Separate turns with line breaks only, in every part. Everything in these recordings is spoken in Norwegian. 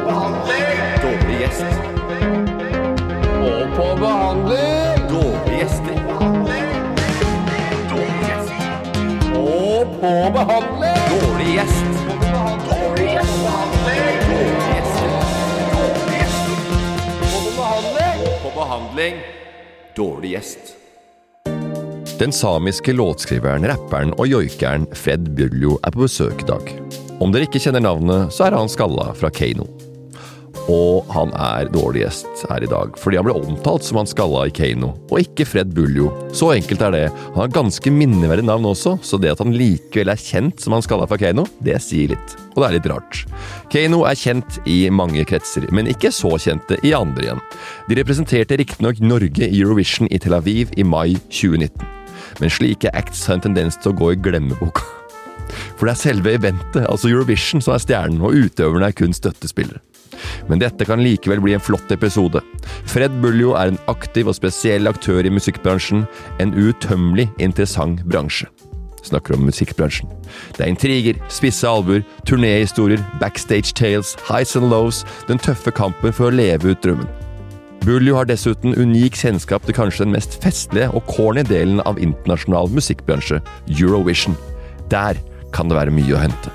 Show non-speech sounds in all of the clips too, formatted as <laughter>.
Dårlig gjest. Og på behandling. Dårlige gjester. Dårlig gjest. Og på behandling. Dårlig gjest. Dårlig gjest. Dårlig gjester. Dårlig gjester. Og på behandling. Dårlig gjest.
Den samiske låtskriveren, rapperen og joikeren Fred Bjørlo er på besøk i dag. Om dere ikke kjenner navnet, så er han skalla fra Kano. Og han er dårlig gjest her i dag, fordi han ble omtalt som han skalla i Kano, og ikke Fred Buljo. Så enkelt er det. Han har ganske minneverdig navn også, så det at han likevel er kjent som han skalla fra Kano, det sier litt. Og det er litt rart. Kano er kjent i mange kretser, men ikke så kjente i andre igjen. De representerte riktignok Norge i Eurovision i Tel Aviv i mai 2019. Men slike acts har en tendens til å gå i glemmeboka. For det er selve eventet, altså Eurovision, som er stjernen, og utøverne er kun støttespillere. Men dette kan likevel bli en flott episode. Fred Buljo er en aktiv og spesiell aktør i musikkbransjen. En utømmelig interessant bransje. Snakker om musikkbransjen. Det er intriger, spisse albuer, turnéhistorier, backstage tales, highs and lows, den tøffe kampen for å leve ut drømmen. Buljo har dessuten unik kjennskap til kanskje den mest festlige og corny delen av internasjonal musikkbransje, Eurovision. Der kan det være mye å hente.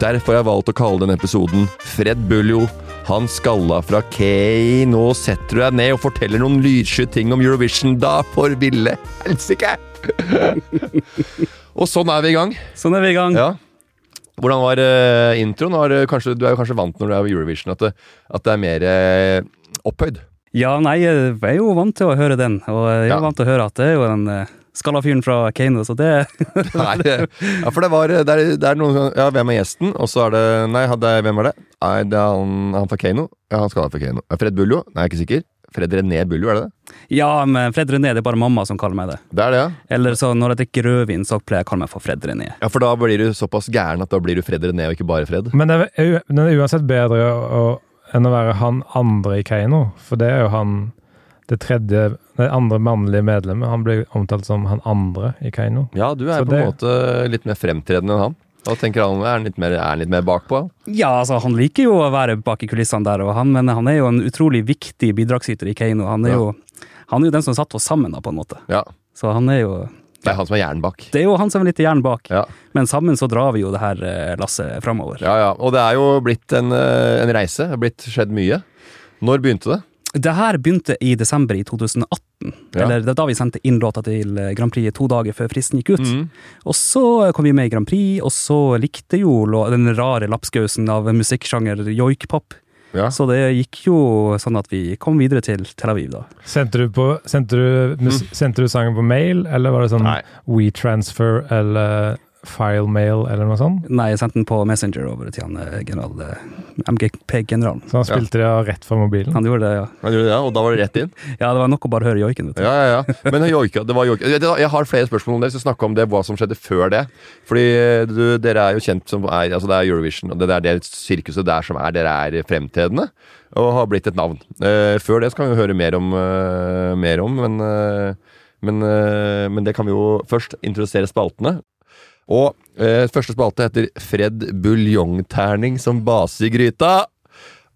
Derfor har jeg valgt å kalle denne episoden Fred Buljo. Han skalla fra Kay, nå setter du deg ned og forteller noen lyssky ting om Eurovision, da, for ville helsike! og sånn er vi i gang.
Sånn er vi i gang.
Ja. Hvordan var eh, introen? Har, eh, kanskje, du er jo kanskje vant når du er i Eurovision at det, at det er mer eh, opphøyd?
Ja, nei, jeg er jo vant til å høre den, og jeg er jo
Ja.
vant til å høre at det er jo den eh, skalla fyren fra Kano, så det <laughs>
<laughs> Nei, ja, for det var det er, det er noen Ja, hvem er gjesten? Og så er det Nei, han- det er, hvem er det? Nei, det er han, han fra Kano. Ja, han skal være fra Kano. Er Fred Buljo? Nei, jeg er ikke sikker. Fred René Buljo, er det det?
Ja, men Fred René, det er bare mamma som kaller meg det.
Det er det, ja.
Eller så når jeg drikker rødvin, så pleier jeg å kalle meg for Fred René.
Ja, For da blir du såpass gæren at da blir du Fred René og ikke bare Fred?
Men det er, u- den er uansett bedre å, enn å være han andre i Keiino, for det er jo han det tredje, det andre mannlige medlemmet. Han blir omtalt som han andre i Keiino.
Ja, du er
Så
på en
det-
måte litt mer fremtredende enn han. Og tenker han er han litt mer, er han litt mer bakpå?
Ja, altså, han liker jo å være bak i kulissene der, og han, men han er jo en utrolig viktig bidragsyter i Kano. Han er,
Ja.
jo, han er jo den som satte oss sammen, da, på en måte.
Ja.
Så han er jo
Det er han som er hjernen bak.
Det er jo han som er litt i hjernen bak,
Ja.
men sammen så drar vi jo det her eh, lasset framover.
Ja, ja. Og det er jo blitt en, eh, en reise. Det har blitt skjedd mye. Når begynte det?
Det her begynte i desember i 2018.
Ja.
Eller det er da vi sendte inn låta til eh, Grand Prix to dager før fristen gikk ut.
Mm.
Og så eh, kom vi med i Grand Prix, og så likte jo lå- den rare lapskausen av musikksjanger joikpop.
Ja.
Så det gikk jo sånn at vi kom videre til Tel Aviv, da.
Sendte du, på, sendte, du, mus- sendte du sangen på mail, eller var det sånn
Mm. Nei.
WeTransfer eller FileMail eller noe sånt?
Nei, jeg sendte den på Messenger over til han eh, general, eh, MGP-generalen.
Så han
Ja.
spilte det rett fra mobilen?
Han gjorde det, ja.
Ja, du- ja, og da var det rett inn?
Ja, det var nok å bare høre joiken, vet du.
Ja, ja, ja. Men joika, det var joika. Jeg- Jeg har flere spørsmål om det. Vi skal snakke om det, hva som skjedde før det. Fordi eh, du, dere er jo kjent som er, altså Det er Eurovision, og det er det sirkuset der som er dere er fremtredende. Og har blitt et navn. Eh, før det skal vi jo høre mer om, eh, mer om men, eh, men, eh, men det kan vi jo først introdusere spaltene. Og eh, første spalte heter Fred buljongterning som base i gryta.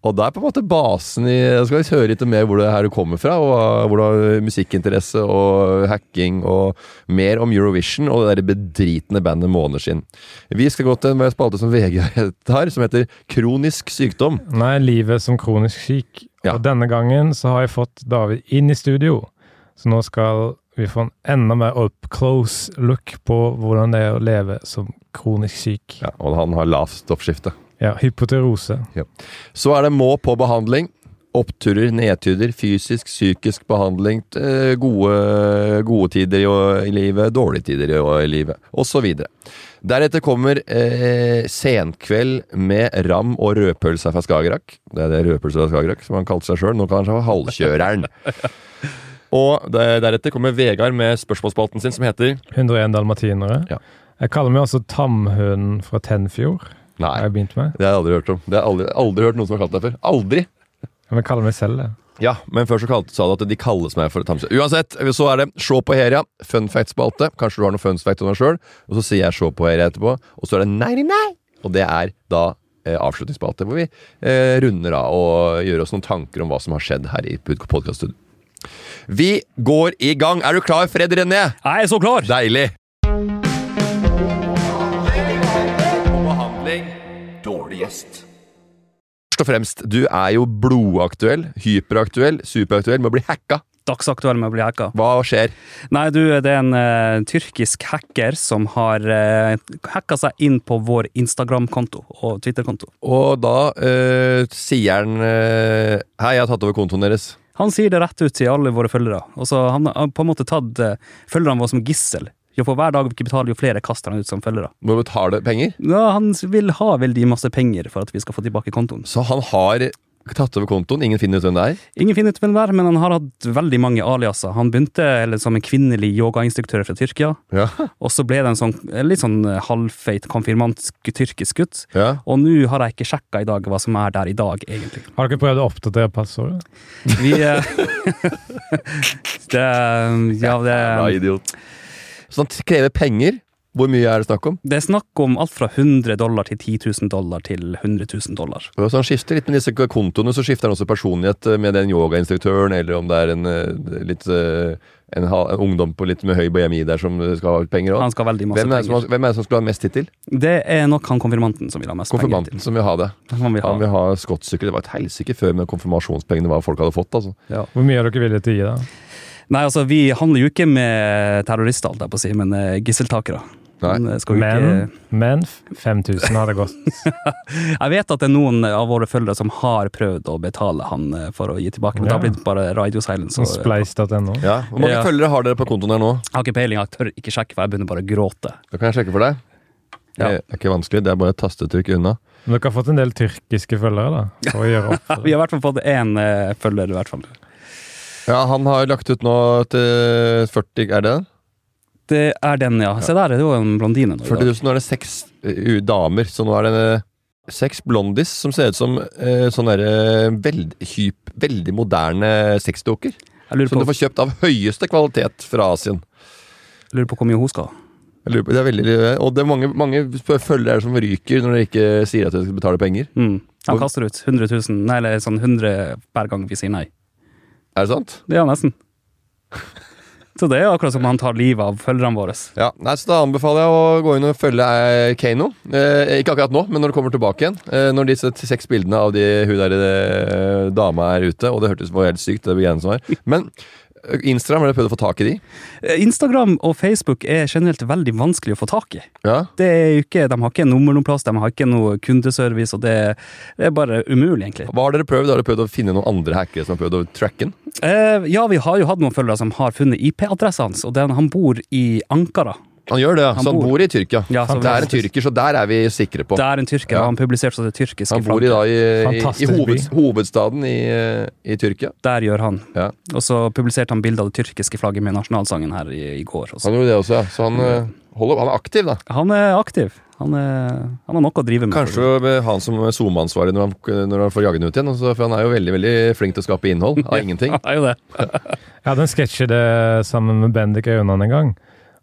Og det er på en måte basen i Da skal vi høre litt mer hvor det her du kommer fra, og uh, hvor du har musikkinteresse og hacking og mer om Eurovision og det der bedritne bandet Måneskinn. Vi skal gå til en spalte som VG har, som heter Kronisk sykdom.
Nei, livet som kronisk syk.
Ja.
Og denne gangen så har jeg fått David inn i studio, så nå skal vi få en enda mer up close look på hvordan det er å leve som kronisk syk.
Ja, og han har lavt stoppskifte.
Ja, hypoterose.
Så er det må på behandling. Oppturer, nedturer, fysisk, psykisk behandling, t- eh, gode, gode tider i, å- i livet, dårlige tider i, å- i livet, osv. Deretter kommer eh, Senkveld med ram og rødpølsa fra Skagerrak. Det er det rødpølsa fra Skagerrak som han kalte seg sjøl. Nå kaller han seg for Halvkjøreren. Og de- deretter kommer Vegard med spørsmålsspalten sin som heter
101 dalmatinere.
Ja.
Jeg kaller meg også Tamhunden fra Tenfjord. har
Nei,
jeg begynt med.
det har jeg aldri hørt om. Det har jeg aldri, aldri hørt noen som har kalt deg før. Aldri!
Men jeg kaller meg selv det.
Ja, men før så kalte, sa du at de kalles meg for Tamsjø. Uansett, så er det Se på Heria, fun fact-spalte. Kanskje du har noen fun fact om deg sjøl. Og så sier jeg Se på Heria etterpå, og så er det Nei, nei, nei. Og det er da eh, avslutningsspalte, hvor vi eh, runder av og gjør oss noen tanker om hva som har skjedd her i podkaststudio. Vi går i gang. Er du klar, Fred René?
Jeg er så klar!
Deilig!
Behandling. Dårlig gjest.
Først og fremst, du er jo blodaktuell, hyperaktuell, superaktuell med å bli hacka.
Dagsaktuell med å bli hacka.
Hva skjer?
Nei, du, det er en eh, tyrkisk hacker som har eh, hacka seg inn på vår Instagram-konto og Twitter-konto.
Og da eh, sier han eh, Hei, jeg har tatt over kontoen deres.
Han sier det rett ut til alle våre følgere. Og så han har på en måte tatt eh, følgerne våre som gissel. Jo for hver dag vi ikke betaler, jo flere kaster han ut som følgere.
Må betale penger.
Ja, han vil ha veldig masse penger for at vi skal få tilbake kontoen.
Så han har tatt over kontoen. Ingen finner ut hvem det er.
Ingen finner ut hvem det er, men han har hatt veldig mange aliaser. Han begynte eller, som en kvinnelig yogainstruktør fra Tyrkia,
Ja.
og så ble det en sånn, en litt sånn eh, halvfeit konfirmant-tyrkisk gutt.
ja.
Og nå har jeg ikke sjekka i dag hva som er der i dag, egentlig.
Har dere prøvd å oppdatere passordet?
Vi eh, <laughs> det, Ja,
Jævla
det,
idiot. Så han krever penger. Hvor mye er det snakk om?
det er snakk om alt fra 100 dollar til 10 000 dollar til 100 000 dollar.
Så han skifter sånn litt med disse kontoene, så skifter han også personlighet eh, med den yogainstruktøren, eller om det er en, eh, litt, eh, en, ha- en ungdom på litt med høy BMI der som eh, skal ha penger òg.
Han skal ha veldig masse
Hvem er, det som,
penger.
har- hvem er det som skulle ha mest hittil?
Det er nok han konfirmanten som vil ha mest penger.
Konfirmanten som vil ha det.
til. Han vil ha.
Han vil ha skottsykkel. Det var et helsike før med konfirmasjonspengene hva folk hadde fått. altså.
Hvor mye er dere villige til å gi, da?
Nei, altså, vi handler jo ikke med terrorister, holdt jeg på å si, men eh, gisseltakere.
Nei.
Men, eh, skal jo
Men,
ikke-
men f- 5000 hadde gått.
Jeg vet at det er noen av våre følgere som har prøvd å betale han eh, for å gi tilbake, men da
Ja.
blir det bare radio silence. <laughs>
Sånn
Og, eh,
Splice.no.
Ja. Hvor mange
Ja.
følgere har dere på kontoen her nå?
jeg har ikke peiling, jeg tør ikke sjekke, for jeg begynner bare å gråte.
Da kan jeg sjekke for deg.
Ja.
Det er ikke vanskelig, det er bare et tastetrykk unna.
Men dere har fått en del tyrkiske følgere, da. For å gjøre opp
Vi
for det.
har i hvert fall fått én eh, følger, i hvert fall.
Ja, Han har lagt ut nå til 40 Er det det?
Det er den, ja. Se der, det var en blondine. nå i
40
dag.
000, nå er det seks eh, u- damer. Så nå er det eh, seks blondis som ser ut som eh, sånne der, eh, veld, hyp, veldig moderne sexdukker.
Jeg lurer
Som du
på,
får kjøpt av høyeste kvalitet fra Asien.
lurer på hvor mye hun skal ha.
Jeg lurer på, det er veldig, eh, og det er mange, mange følgere som ryker når de ikke sier at de skal betale penger.
Mm. Han
Hvor-
kaster ut 100 000, nei, eller sånn 100 hver gang vi sier nei.
Er det sant?
Ja, nesten. <laughs> Så det er akkurat som han tar livet av følgerne våre.
Ja, nei, så Da anbefaler jeg å gå inn og følge eh, Kano. Eh, ikke akkurat nå, men når det kommer tilbake igjen. Eh, når disse t- seks bildene av de, hun der eh, dama er ute. Og det hørtes var helt sykt, det greiene som var. Men eh, Instagram, har dere prøvd å få tak i de?
Eh, Instagram og Facebook er generelt veldig vanskelig å få tak i.
Ja.
Det er jo ikke, De har ikke nummer noen plass, de har ikke noe kundeservice, og det, det er bare umulig, egentlig.
Hva har dere prøvd? Har dere prøvd å finne noen andre hackere som har prøvd å tracke den?
Eh, ja, vi har jo hatt noen følgere som har funnet IP-adressa hans, og den, han bor i Ankara.
Han gjør det, ja.
Han
Så han
bor-
bor i Tyrkia.
Ja, så
det er en tyrker, så der er vi sikre på.
Det er en tyrker,
Ja.
og han publiserte så det tyrkiske
Han bor i,
flagget.
da, i, i, i
Fantastisk by.
hoved, hovedstaden i, eh, i Tyrkia.
Der gjør han.
Ja.
Og så publiserte han bilde av det tyrkiske flagget med nasjonalsangen her i, i går. Også.
Han gjorde det også, ja. Så han, eh, holder, han er aktiv, da.
Han er aktiv. Han, er, han har nok å drive med.
Kanskje eh, han som er SoMe-ansvarlig når, han- når han får jage den ut igjen. altså, For han er jo veldig veldig flink til å skape innhold
<laughs>
av ingenting.
Han er jo det.
Jeg hadde en sketsj i det sammen med Bendik Aunan en gang,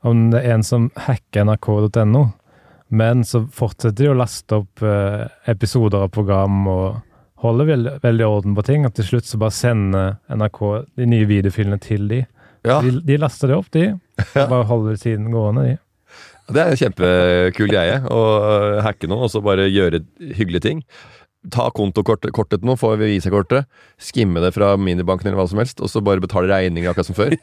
om det er en som hacker nrk.no. Men så fortsetter de å laste opp eh, episoder av program og holder vel, veldig orden på ting. Og til slutt så bare sender NRK de nye videofilene til de.
Ja,
De, de laster det opp, de. og Bare holder siden gående, de.
Det er en kjempekul greie å eh, hacke noe og så bare gjøre hyggelige ting. Ta kontokortet kortet til noen, få visakortet, skimme det fra minibanken eller hva som helst, og så bare betale regninger akkurat som før.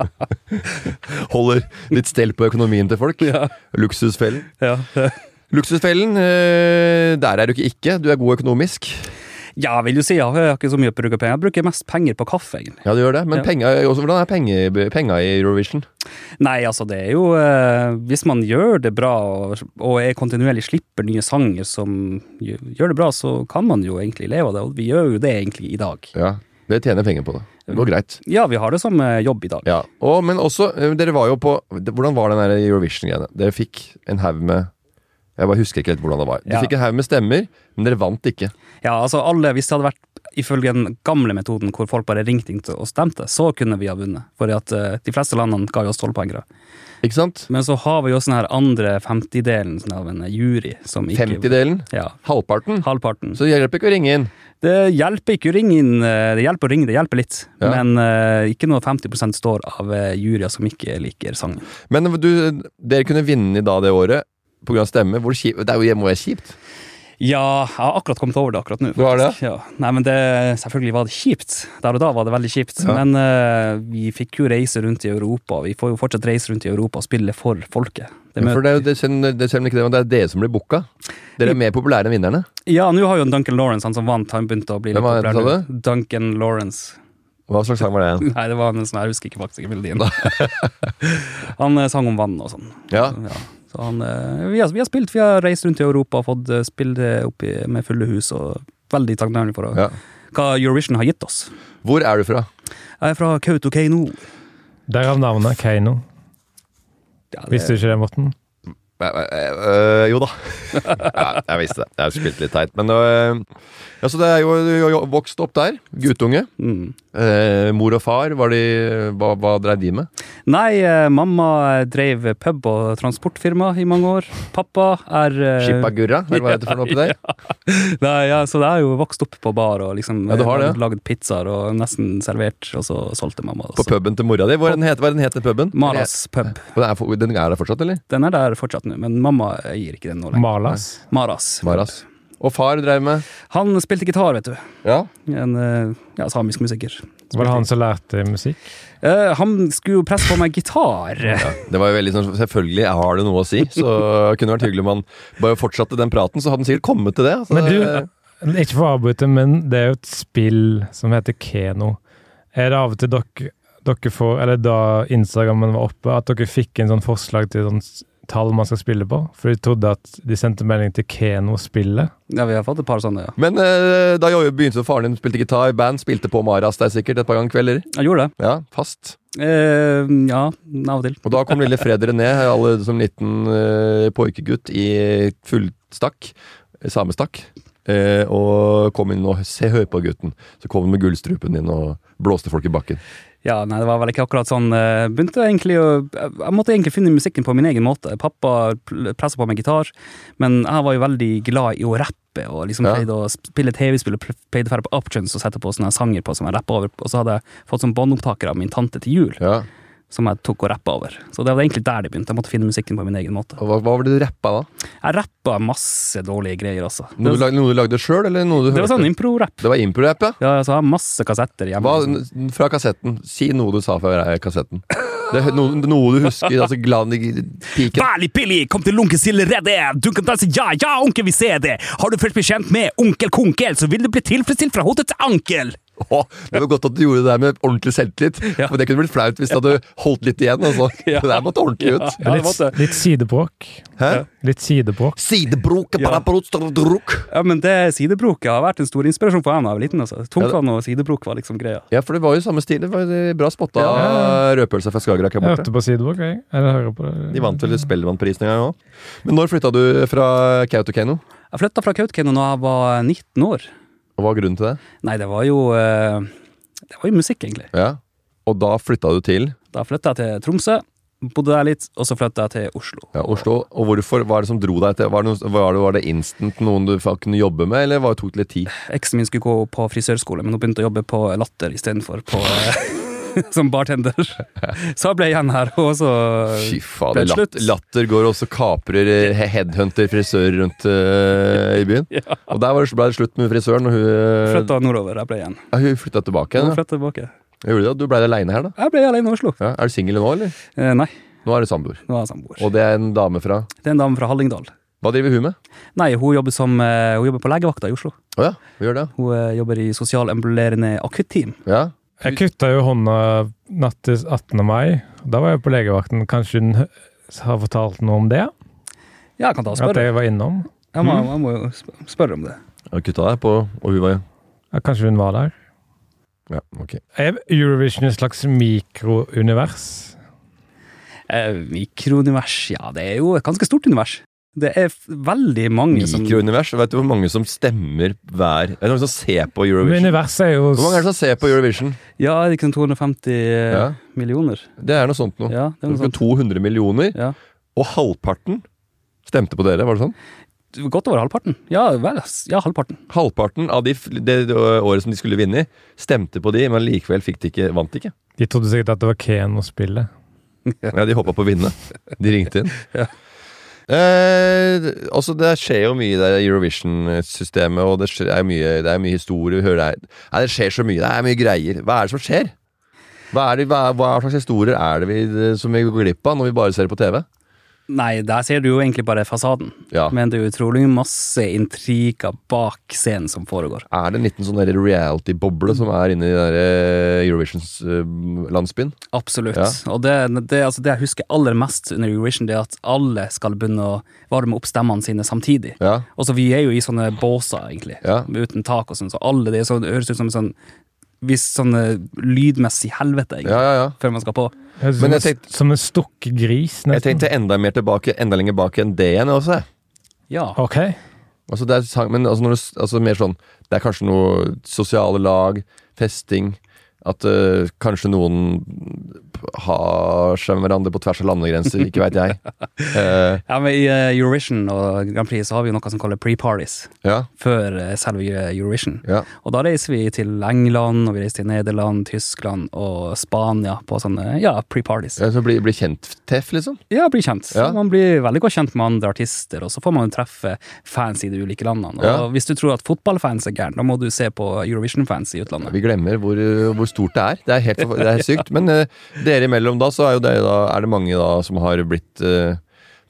<laughs> Holder litt stell på økonomien til folk. Luksusfellen.
Ja.
Luksusfellen, eh, der er du ikke ikke. Du er god økonomisk.
<laughs> Ja, jeg vil jo si jeg har ikke så mye å bruke penger. Jeg bruker mest penger på kaffe, egentlig.
Ja, du gjør det. Men
Ja.
penga, også, hvordan er penga penga i Eurovision?
Nei, altså, det er jo eh, Hvis man gjør det bra, og, og er kontinuerlig slipper nye sanger som gjør gjør det bra, så kan man jo egentlig leve av det, og vi gjør jo det egentlig i dag.
Ja, Dere tjener penger på det. Det går greit.
Ja, vi har det som eh, jobb i dag.
Ja, og, Men også, eh, dere var jo på Hvordan var den der Eurovision-greiene? Dere fikk en haug med Jeg bare husker ikke helt hvordan det var. Du
Ja.
fikk en haug med stemmer, men dere vant ikke.
Ja, altså alle, Hvis det hadde vært ifølge den gamle metoden hvor folk bare ringte inn til og stemte, så kunne vi ha vunnet. For at eh, de fleste landene ga jo oss tolvpoengere.
Ikke sant?
Men så har vi jo sånn her andre femtidelen sånn av en jury som ikke
50-delen.
Ja.
Halvparten.
Halvparten.
Så det hjelper ikke å ringe inn.
Det hjelper ikke å ringe inn. eh, Det hjelper å ringe, det hjelper litt.
Ja.
Men eh, ikke noe 50 står av eh, juryer som ikke liker sangen.
Men du, dere kunne vinne da det året pga. stemme. Hvor kjip, det er jo, må være kjipt.
Ja, jeg har akkurat kommet over det akkurat nå.
Du har
faktisk. Ja. Nei, men det, selvfølgelig var det kjipt. Der og da var det veldig kjipt.
Ja.
Men eh, vi fikk jo reise rundt i Europa. Vi får jo fortsatt reise rundt i Europa og spille for folket. Det
For
møter-
det er jo det, selv, det, selv om ikke det, men det er dere som blir booka. Dere er mer populære enn vinnerne.
Ja, nå har jo Duncan Lawrence, han som vant, han begynte å bli
Hvem var det du
populær nå. Duncan Lawrence.
Hva slags sang var det? igjen?
Nei, det var en sånn, jeg husker ikke faktisk
<laughs>
ikke melodien. han eh, sang om vann og sånn.
Ja.
Ja. Så han, eh, vi, har, vi har spilt, vi har reist rundt i Europa og fått eh, spille opp i, med fulle hus. og Veldig takknemlig for
ja.
hva Eurovision har gitt oss.
Hvor er du fra?
Jeg er fra Kautokeino.
Derav navnet Keiino.
Ja, det-
Visste du ikke det, Morten?
Eh, eh, eh, jo da. <laughs> ja, jeg visste det. Jeg spilte litt teit. Men øh, ja, så det er jo, du er jo vokst opp der. Guttunge.
Mm.
Eh, mor og far, var de, hva, hva drev de med?
Nei, eh, mamma drev pub og transportfirma i mange år. Pappa er
Øh,
eh,
Skippa Gurra, eller hva heter det for noe oppi
<laughs>
der?
Nei, ja, Så jeg har jo vokst opp på bar og liksom
Ja, du har
eh,
det,
lagd pizzaer og nesten servert, og så solgte mamma.
altså.
På
så-
puben til mora di? Hva er den heter, hva er den, heter puben?
Maras pub.
Og Den er, for- den er der fortsatt, eller?
Den er der fortsatt nå, men mamma eier ikke den nå lenger.
Malas.
Maras.
Maras. Og far drev med
Han spilte gitar, vet du.
Ja.
En eh, ja, samisk musiker.
Var det han som lærte musikk?
Eh, han skulle jo presse på meg gitar.
Det var jo veldig sånn Selvfølgelig har det noe å si, så <laughs> det kunne vært hyggelig om han bare fortsatte den praten, så hadde han sikkert kommet til det. altså.
Men du, ikke for å avbryte, men det er jo et spill som heter Keno. Er det av og til dere, dere får, eller da Instagrammen var oppe, at dere fikk en sånn forslag til sånn s- tall man skal spille på? For de trodde at de sendte melding til Keno-spillet.
Ja, vi har fått et par sånne, ja.
Men eh, da jo- begynte faren din spilte gitar, band, spilte på Maras der sikkert et par ganger kvelder.
Jeg gjorde det.
Ja, fast.
Eh, ja, av og til.
Og da kom lille Fredre ned, alle som liten eh, pojkegutt i fullstakk, samestakk, eh, og kom inn og se, hør på gutten. Så kom han med gullstrupen inn og blåste folk i bakken.
Ja, nei, det var vel ikke akkurat sånn. eh, Begynte egentlig å Jeg jeg måtte egentlig finne musikken på min egen måte. Pappa pressa på meg gitar, men jeg var jo veldig glad i å rappe og liksom
Ja.
pleide å spille TV-spill og pleide å dra på Upchunks og sette på sånne sanger på som jeg rappa over. Og så hadde jeg fått sånn båndopptaker av min tante til jul,
Ja.
som jeg tok og rappa over. Så det var egentlig der det begynte. Jeg måtte finne musikken på min egen måte.
Og hva, hva var det du rappa da?
Jeg rappa masse dårlige greier, altså.
Noe du
Det,
lagde, noe du lagde sjøl, eller noe du
det var sånn impro-rapp.
Det var impro-rapp, ja.
Ja, så jeg har masse kassetter hjemme.
Hva, n- fra kassetten. Si noe du sa fra eh, kassetten. Det, er noe, noe du husker. Altså, glad i piken.
Værlig billig, kom til onkel Silje Redde. Du kan danse ja, ja, onkel, vi ser det. Har du først blitt kjent med onkel Konkel, så vil du bli tilfredsstilt fra hode til ankel.
Åh, det var godt at du gjorde det der med ordentlig selvtillit.
Ja.
For det kunne blitt flaut hvis du hadde holdt litt igjen. Altså.
<laughs> Ja.
Det der måtte ordentlig ut.
Ja, det
Litt,
måtte-
litt sidebråk.
Hæ?
Litt sidebråk.
Sidebrok,
Ja.
sånn parabrotstrudruk.
Ja, men det sidebroket har vært en stor inspirasjon for meg da jeg var liten. altså. Tungtvann og sidebrok var liksom greia.
Ja, for det var jo samme stil. Det var det Bra spotta rødpølse fra Skagerrak her
Jeg
borte.
hørte på sidebråk, jeg. Eller hører på
De
det.
vant vel Spellemannprisen en gang òg. Men når flytta du fra Kautokeino?
Jeg flytta fra Kautokeino da jeg var 19 år.
Og hva er grunnen til det?
Nei, det var jo eh, Det var jo musikk, egentlig.
Ja. Og da flytta du til
Da flytta jeg til Tromsø, bodde der litt, og så flytta jeg til Oslo.
ja, Oslo. Og hvorfor? Hva er det som dro deg til? Var det, noe, var det, var det instant noen du fa- kunne jobbe med, eller var det tok det litt tid?
Eksen min skulle gå på frisørskole, men hun begynte å jobbe på Latter istedenfor på <laughs> eh, Som bartender. Så jeg ble igjen her, og så
Fy fader.
ble det
Latter,
slutt.
latter går også kaprer, eh, he- headhunter, frisører rundt eh, i byen. Og der var det, ble det slutt med frisøren, og hun, eh,
flytta nordover. Jeg ble igjen.
ja, hun flytta tilbake.
Hun
igjen, Ja.
flyttet tilbake.
Gjorde det, og du blei aleine her, da?
Jeg ble alene i Oslo.
Ja. Er du singel nå, eller?
Eh, nei,
Nå er du samboer.
nå er jeg samboer.
Og det er en dame fra
Det er en dame fra Hallingdal.
Hva driver hun med?
Nei, hun jobber, som, eh, hun jobber på legevakta i Oslo.
Å ja, hun gjør det.
Hun eh, jobber i sosialembulerende akutteam.
Ja.
Jeg kutta jo hånda natt til 18. mai. Da var jeg på legevakten. Kanskje hun hø- har fortalt noe om det?
Ja, jeg kan ta og
At
spørre.
jeg var innom?
Jeg må,
Mm.
jeg må jo sp- spørre om det.
Og kutta deg på Og hun var
Ja, kanskje hun var der?
Ja, ok.
Er Eurovision et slags mikrounivers?
Eh, mikrounivers, ja, det er jo et ganske stort univers. Det er f- veldig mange som
Mikrounivers. Vet du hvor mange som stemmer hver Vet du hvor mange som ser på
Men
Eurovision?
universet er jo
Hvor mange er det som ser på Eurovision?
Ja, er det ikke sånn 250
Ja.
millioner?
Det er noe sånt noe.
Ja, det er noe sånt.
200 millioner,
Ja.
og halvparten stemte på dere, var det sånn?
Godt over halvparten. Ja, vel, ja halvparten.
Halvparten av de, f- det året som de skulle vinne i, stemte på de, men likevel fikk de ikke, vant de ikke.
De trodde sikkert at det var Keno-spillet.
Ja, de håpa på å vinne. De ringte <laughs> inn. Eh, altså Det skjer jo mye i det Eurovision-systemet, og det, skjer, det, er mye, det er mye historie. Vi hører det, er- Nei, det skjer så mye. Det er mye greier. Hva er det som skjer? Hva, er det, hva, hva slags historier er det vi, som vi går glipp av når vi bare ser på TV?
Nei, der ser du jo egentlig bare fasaden.
Ja.
Men det er jo utrolig masse intriger bak scenen som foregår.
Er det en liten sånn der reality-boble som er inne i den der, eh, Eurovision-landsbyen?
Absolutt.
Ja.
Og det, det, altså det jeg husker aller mest under Eurovision, det er at alle skal begynne å varme opp stemmene sine samtidig.
Ja.
Og så Altså, Vi er jo i sånne båser, egentlig,
Ja.
uten tak og sånn, så alle det, er sånn- det høres ut som en sånn hvis sånn eh, lydmessig helvete egentlig,
ja, ja, ja.
før man skal på.
Høres
Men
Som,
jeg
en- som en stukket gris,
Jeg
nesten.
tenkte enda mer tilbake, enda lenger bak enn det igjen også. jeg.
Ja.
Ok.
Altså det er sang, men altså når du, s- altså mer sånn Det er kanskje noe sosiale lag, festing At eh, kanskje noen har seg med hverandre på tvers av landegrenser, ikke veit <laughs> jeg. Eh,
ja, men I eh, Eurovision og Grand Prix så har vi jo noe som kalles pre-parties,
ja,
før eh, selve Eurovision.
ja.
Og da reiser vi til England, og vi reiser til Nederland, Tyskland og Spania på sånne ja, pre-parties.
Ja, Så bli, bli kjent-teff, liksom.
Ja, bli kjent. Så
Ja.
Man blir veldig godt kjent med andre artister, og så får man jo treffe fans i de ulike landene. Og
Ja.
Hvis du tror at fotballfans er gæren, da må du se på Eurovision-fans i utlandet.
Vi glemmer hvor, eh, hvor stort det er. Det er helt for- det er sykt. Men eh, dere imellom da, så er, jo det, da, er det mange da som har blitt eh,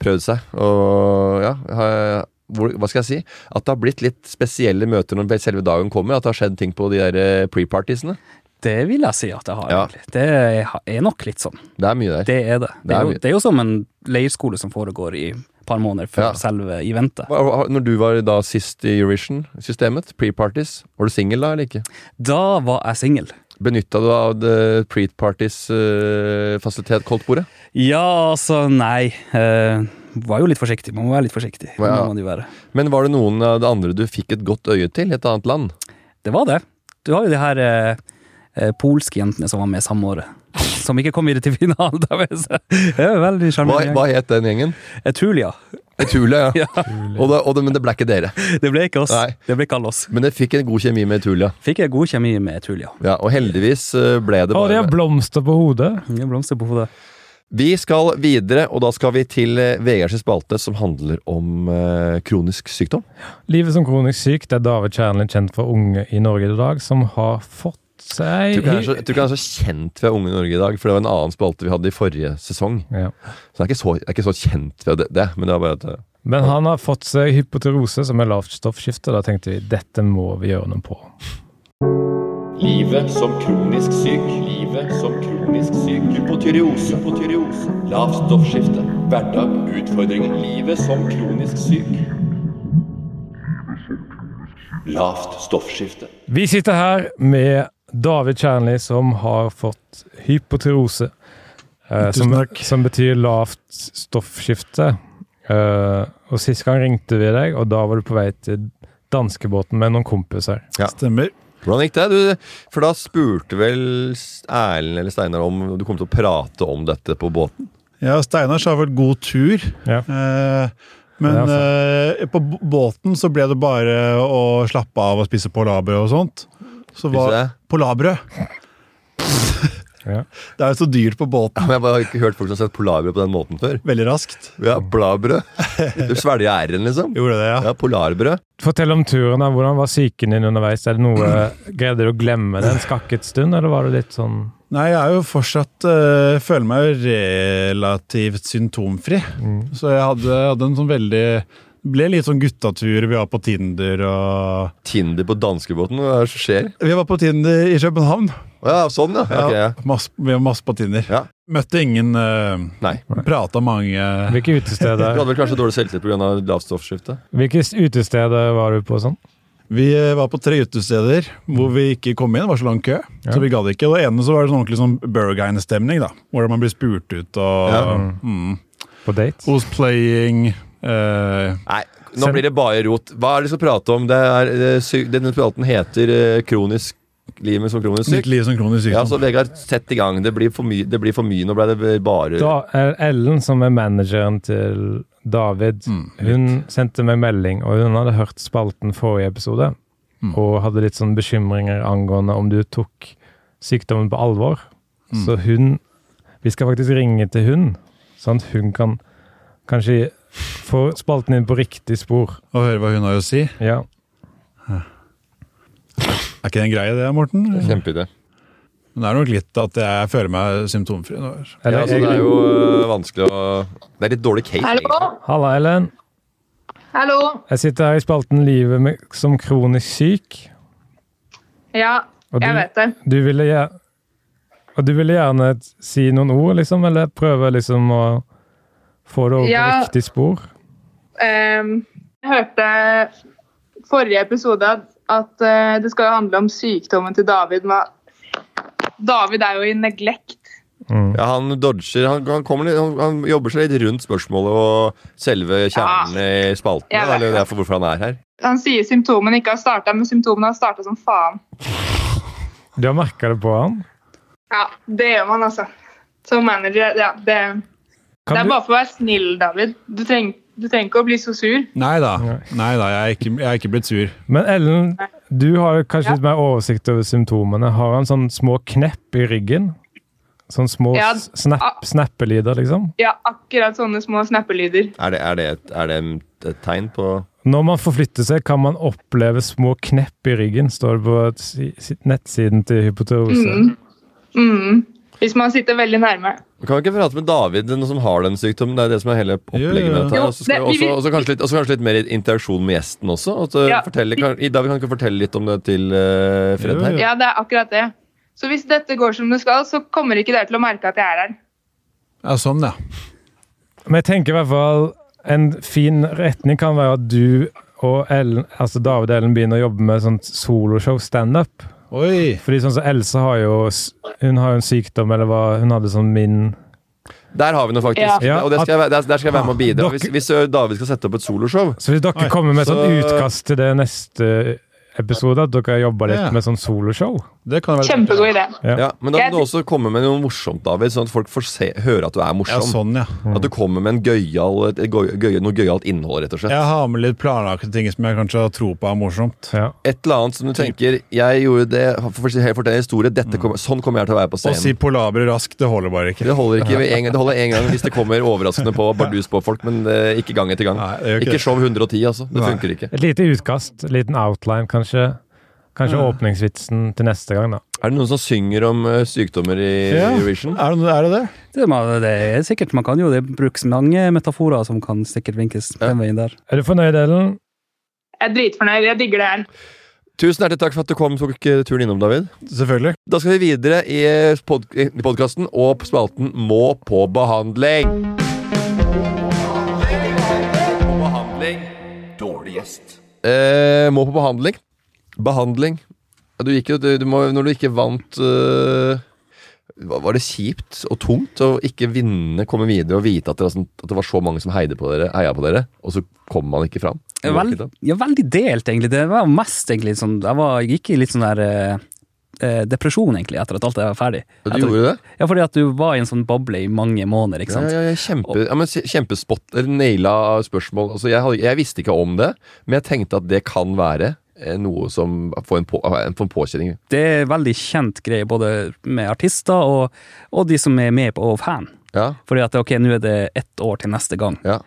prøvd seg. Og ja har- hvor, Hva skal jeg si? At det har blitt litt spesielle møter når selve dagen kommer. At det har skjedd ting på de der eh, pre-partiesene.
Det vil jeg si at jeg har,
Ja.
egentlig. Det er nok litt sånn.
Det er mye der.
Det er det. Det
Det er
er jo,
mye.
det er jo som en leirskole som foregår i et par måneder før
Ja.
selve eventet.
Hva- hva- Når du var da sist i Eurovision-systemet, pre-parties, var du singel da, eller ikke?
Da var jeg singel.
Benytta du av det pre-parties-fasilitet, koldtbordet?
Ja, altså, nei. Eh, var jo litt forsiktig. Man må være litt forsiktig. Det
Ja.
Må man jo være.
Men var det noen av det andre du fikk et godt øye til i et annet land?
Det var det. Du har jo de her eh, eh, polske jentene som var med samme året. Som ikke kom videre til finalen. da, men så- Det er jo veldig
Hva,
sjarmerende.
hva het den gjengen?
Etulia.
Etulia, <laughs> ja. Og det, og det, men det ble ikke dere.
Det ble ikke oss.
Nei.
Det ble ikke alle oss.
Men det fikk en god kjemi med Etulia.
Fikk jeg god kjemi med Etulia.
Ja, og heldigvis eh, ble det
Å, de
bare
har blomster på hodet.
Ingen blomster på hodet.
Vi skal videre, og da skal vi til eh, Vegards spalte, som handler om eh, kronisk sykdom.
Livet som kronisk syk, det er David Kjernlin kjent for unge i Norge i dag, som har fått seg
Jeg tror ikke han er så- jeg tror ikke han er så kjent ved Unge i Norge i dag, for det var en annen spalte vi hadde i forrige sesong.
ja.
Så han er ikke så, er ikke så kjent ved det, det, men det er bare at eh,
Men han har fått seg hypoterose, som er lavt stoffskifte. Da tenkte vi dette må vi gjøre noe på.
Livet som kronisk syk. Livet som kronisk syk. Hypotyreose. Hypotyreose. Lavt stoffskifte. Hverdag. Utfordringer. Livet som kronisk syk. Lavt stoffskifte.
Vi sitter her med David Kjernli, som har fått hypotyreose. eh, som, som betyr lavt stoffskifte. Eh, og Sist gang ringte vi deg, og da var du på vei til danskebåten med noen kompiser.
Stemmer.
Hvordan gikk det? Du, for da spurte vel S- Erlend eller Steinar om du kom til å prate om dette på båten. <laughs>
Ja, Steinar sa vel god tur.
Ja.
Eh,
Ja,
men
det
eh, på b- båten så ble det bare å slappe av og spise polarbrød og sånt. Så var
Spise?
Polarbrød!
<laughs> Ja.
Det er jo så dyrt på båten.
Men jeg bare har ikke hørt folk som har sett polarbrød på den måten før.
Veldig raskt.
Ja, Bladbrød. Du svelger æren, liksom.
Gjorde det, ja.
Ja, Polarbrød.
Fortell om turen. da. Hvordan var psyken din underveis? Er det noe, Greide du å glemme det en skakket stund, eller var det litt sånn
Nei, jeg er jo fortsatt eh, Føler meg jo relativt symptomfri.
Mm.
Så jeg hadde, hadde en sånn veldig Ble litt sånn guttatur. Vi var på Tinder og
Tinder på danskebåten, hva er det som skjer?
Vi var på Tinder i København.
Å Ja, sånn, ja. Ok, ja.
masse, vi var masse på Tinder.
Ja.
Møtte ingen eh,
Nei.
Prata mange
Hvilke
Du
utesteder,
<clears throat> hadde vel kanskje dårlig selvtillit pga. lavt stoffskifte?
hvilke utesteder var du på sånn?
Vi eh, var på tre utesteder hvor vi ikke kom inn. Det var så lang kø.
Mm. Ja.
Så vi gadd ikke. Og det ene så var det sånn ordentlig sånn Burgine-stemning. da Hvor man blir spurt ut og
Ja.
mm,
På date?
Who's playing? Eh,
Nei, nå blir det bare rot. Hva er det vi skal prate om? Det er, eh, sy- denne praten heter eh, kronisk Livet som kronisk
nytt
syk.
liv liksom. som kronisk
Ja,
sykdom.
så Vegard, sett i gang. Det blir for mye, det blir for mye. nå ble det bare
Da er Ellen, som er manageren til David,
Mm,
hun sendte meg melding, og hun hadde hørt spalten forrige episode,
Mm.
og hadde litt sånn bekymringer angående om du tok sykdommen på alvor.
Mm.
Så hun Vi skal faktisk ringe til hun, sånn at hun kan kanskje få spalten inn på riktig spor.
Og høre hva hun har å si.
Ja.
Er ikke det en greie, det, Morten? Men
Kjempeidé.
det er nok litt at jeg føler meg symptomfri nå. her.
Ja,
Eller,
altså, det er jo eh, vanskelig å Det er litt dårlig case.
Hallo?
egentlig.
Halla, Ellen.
Hallo?
Jeg sitter her i spalten Livet med, som kronisk syk.
Ja,
Og
jeg
du-
vet det.
Du ville gjerne Og du ville gjerne si noen ord, liksom? Eller prøve liksom å få det over
Ja.
på riktig spor?
Ehm, jeg hørte forrige episode at, at eh, det skal jo handle om sykdommen til David. Men David er jo i neglekt.
Ja, han dodger han, han, kommer, litt- han, han jobber seg litt rundt spørsmålet og selve
Ah.
kjernen i spalten.
Jeg
da,
vet
Eller
det.
derfor hvorfor han er her.
Han sier symptomene ikke har starta, men symptomene har starta som faen.
Du har merka det på han?
Ja, det gjør man, altså. Som manager, ja. Det, det
Kan
er
du,
bare for å være snill, David. Du trenger, du trenger ikke å bli så sur.
Nei da.
Nei.
Nei da, jeg er ikke, jeg er ikke blitt sur.
men Ellen, du har jo kanskje
Ja.
litt mer oversikt over symptomene. Har han sånne små knepp i ryggen? Sånne små
Ja. Ah.
s- snapp, snappelyder, liksom?
Ja, akkurat sånne små snappelyder.
Er det, er det, et, er det et- et tegn på
Når man forflytter seg, kan man oppleve små knepp i ryggen, står det på si- si- nettsiden til Hypoterose.
Mm. Hvis man sitter veldig nærme.
Men Kan vi ikke prate med David, den som har den sykdommen? Det er det som er hele opplegget med dette. her.
Jo,
Og så skal
det-
vi
vi
også-
vil-
Og så kanskje, litt- og så kanskje litt mer interaksjon med gjesten også. Og så
Ja.
fortelle, kan, Ida, vi kan ikke fortelle litt om det til eh, Fred
Jo,
her?
jo.
Ja, det er akkurat det. Så hvis dette går som det skal, så kommer ikke dere til å merke at jeg er her.
Ja, sånn, ja.
Men jeg tenker i hvert fall en fin retning kan være at du og Ellen, altså David og Ellen begynner å jobbe med sånt soloshow, standup.
Oi!
Fordi sånn som Else har jo s- Hun har jo en sykdom, eller hva Hun hadde sånn min
Der har vi noe, faktisk.
Ja.
Og det skal jeg, være- der, der skal jeg være med og bidra.
Dere-
Hvis, hvis eh, David skal sette opp et soloshow
Så hvis dere
Oi,
kommer med et sånt
så-
utkast til det neste episode, at dere jobber litt
Ja.
med sånn soloshow
Det kan være
Kjempegod idé.
Ja.
ja, Men da
Jeg-
må du også komme med noe morsomt, David, sånn at folk får se, høre at du er
Ja,
morsom.
sånn, ja.
At du kommer med en gøyal, et gøy, gøy, noe gøyalt innhold, rett og slett.
Jeg har med litt planlagte ting som jeg kanskje har tro på er morsomt.
ja.
Et eller annet som du tenker Jeg gjorde det for å si- helt fortelle en historie. Dette kommer- sånn kommer jeg til å være på
Mm. Å
scenen.
si polabre raskt, det holder bare ikke.
Det holder ikke med en, gang- det holder en gang hvis det
<laughs>
kommer overraskende på bardus på folk, men eh, ikke gang etter gang.
Nei, det gjør ikke
ikke
det.
show 110, altså. Det
Nei.
funker ikke.
Et lite utkast, en liten outline, kanskje. Kanskje åpningsvitsen til neste gang, da.
Er det noen som synger om eh, sykdommer i
Ja.
Eurovision?
Er det, er det det?
Det, man, det er sikkert, man kan jo det brukes mange metaforer som kan sikkert vinkes den veien der.
Er du fornøyd, Ellen?
Jeg er dritfornøyd. Jeg digger det her.
Tusen hjertelig takk for at du kom og tok eh, turen innom, David.
Selvfølgelig.
Da skal vi videre i eh, pod podkasten og spalten Må på behandling. Dårlig gjest. Eh, må på behandling. Behandling. Ja, Du gikk jo, du, du må, når du ikke vant eh, hva- Var det kjipt og tungt å ikke vinne, komme videre og vite at det var, sånn, at det var så mange som heide på dere, heia på dere, og så kom man ikke fram?
Ja, vel, ja, veldig delt, egentlig. Det var mest egentlig sånn Jeg, var, jeg gikk i litt sånn der eh, eh, depresjon, egentlig, etter at alt var ferdig.
Ja,
Etter-
Du gjorde det?
Ja, fordi at du var i en sånn boble i mange måneder, ikke sant.
Ja, ja, ja, kjempe, ja, men kjempespot, eller naila spørsmål. Altså, jeg, hadde, jeg visste ikke om det, men jeg tenkte at det kan være eh, noe som får en, på, en, får en påkjenning.
Det er en veldig kjent greie, både med artister og, og de som er med på og fan.
Ja,
Fordi at ok, nå er det ett år til neste gang.
ja.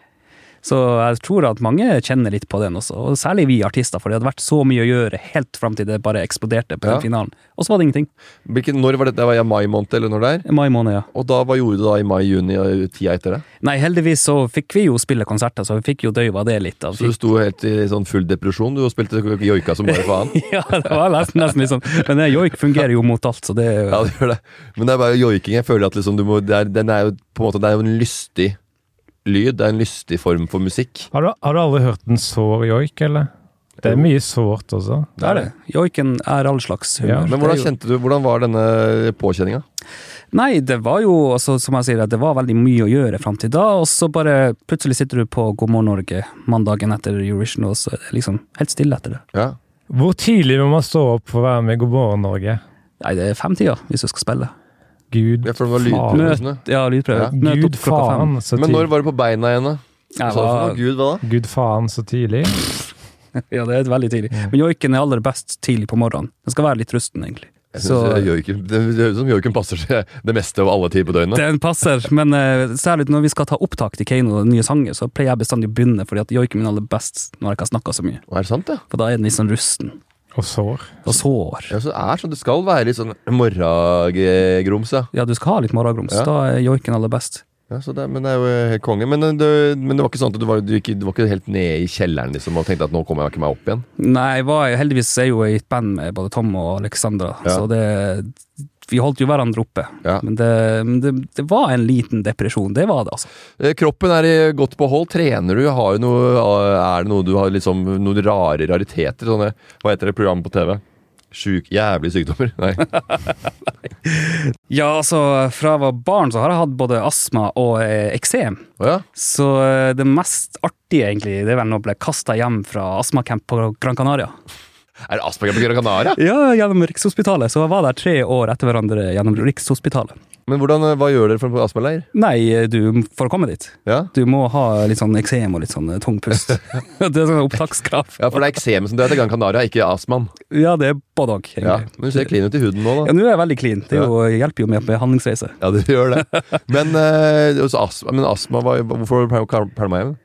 Så jeg tror at mange kjenner litt på den også, og særlig vi artister, for det hadde vært så mye å gjøre helt fram til det bare eksploderte på
Ja.
den finalen. Og så var det ingenting.
Hvilken, når var det? Det var i mai måned, eller når det er?
I Mai måned, ja.
Og da, hva gjorde du da i mai-juni og tida etter det?
Nei, heldigvis så fikk vi jo spille konserter, så vi fikk jo døyva det litt. Da.
Så du sto helt i sånn full depresjon, du og spilte joika som bare faen?
<laughs> Ja, det var nesten, nesten litt sånn. Men det- joik fungerer jo mot alt, så det er jo
<laughs> Ja, det gjør det. Men det er bare joiking. Jeg føler at liksom du må det er, Den er jo på en måte Det er jo en lystig lyd. Det er en lystig form for musikk.
Har du, har du aldri hørt en sår joik, eller? Det er mye sårt også.
det er det. Joiken er all slags humør.
Ja,
Men hvordan kjente du Hvordan var denne påkjenninga?
Nei, det var jo, altså, som jeg sier, det var veldig mye å gjøre fram til da, og så bare plutselig sitter du på God morgen Norge mandagen etter Eurovision, og så er det liksom helt stille etter det.
Ja.
Hvor tidlig må man stå opp for å være med i God morgen Norge?
Nei, det er femtida hvis du skal spille.
Gud
ja, for det var
faen.
lydprøve.
Møt, ja, lydprøve.
Ja.
Møt
Gud
opp klokka fem.
faen, så
Men når
tidlig.
var du på beina igjen, da? Hva
Jeg
sa du for noe?
var,
Gud, hva da?
Gud faen, så tidlig.
ja, det er veldig tidlig.
Mm.
Men joiken er aller best tidlig på morgenen. Den skal være litt rusten, egentlig.
Jeg
Så
synes, eh, joiken- Det det høres ut som joiken passer seg det meste av alle tider på døgnet.
den passer, men eh, særlig når vi skal ta opptak til Keiino og den nye sangen, så pleier jeg bestandig å begynne, fordi at joiken min er aller best når jeg ikke har snakka så mye.
Er det sant, ja?
For da er den litt sånn rusten.
Og sår.
Og sår.
Ja, så det er sånn, Det skal være litt sånn morgengrums, ja.
Ja, du skal ha litt morgengrums.
Ja.
Da er joiken aller best.
ja så det, men det er jo helt konge. Men eh, det, men det var ikke sånn at du var, du, gikk, du var ikke helt nede i kjelleren liksom, og tenkte at nå kommer jeg ikke meg opp igjen?
Nei, jeg var, heldigvis er jeg jo i et band med både Tom og Alexandra,
Ja.
så det Vi holdt jo hverandre oppe.
Ja.
Men, det, men det, det var en liten depresjon, det var det, altså.
Eh, Kroppen er i godt behold. Trener du? Har du noe, er det noe du har liksom, noen rare rariteter? Sånne, hva heter det programmet på TV? Sjuk, jævlige sykdommer? <laughs> Nei.
Ja, altså, fra jeg var barn så har jeg hatt både astma og eh, eksem.
Å ja?
Så eh, det mest artige, egentlig, det er vel når jeg ble kasta hjem fra astmacamp på Gran Canaria.
Er det Asperger på Gran Canaria?
Ja, gjennom Rikshospitalet. Så jeg var der tre år etter hverandre gjennom Rikshospitalet.
Men hvordan, eh, hva gjør dere for en astmaleir?
Nei, eh, du, for å komme dit.
Ja?
Du må ha litt sånn eksem og litt sånn eh, tung <laughs> pust. det er sånn opptakskrav.
ja, for det er eksemen som dør etter Gran Canaria, ikke astmaen.
Ja, det er både òg,
Ja,
egentlig.
men du ser klin ut i huden nå, da.
Ja, nå er jeg veldig clean. Det er jo, hjelper jo med på behandlingsreise.
Ja, det gjør det. Men, eh, også astma, men astma, hva, hvorfor ble du pælma hjem?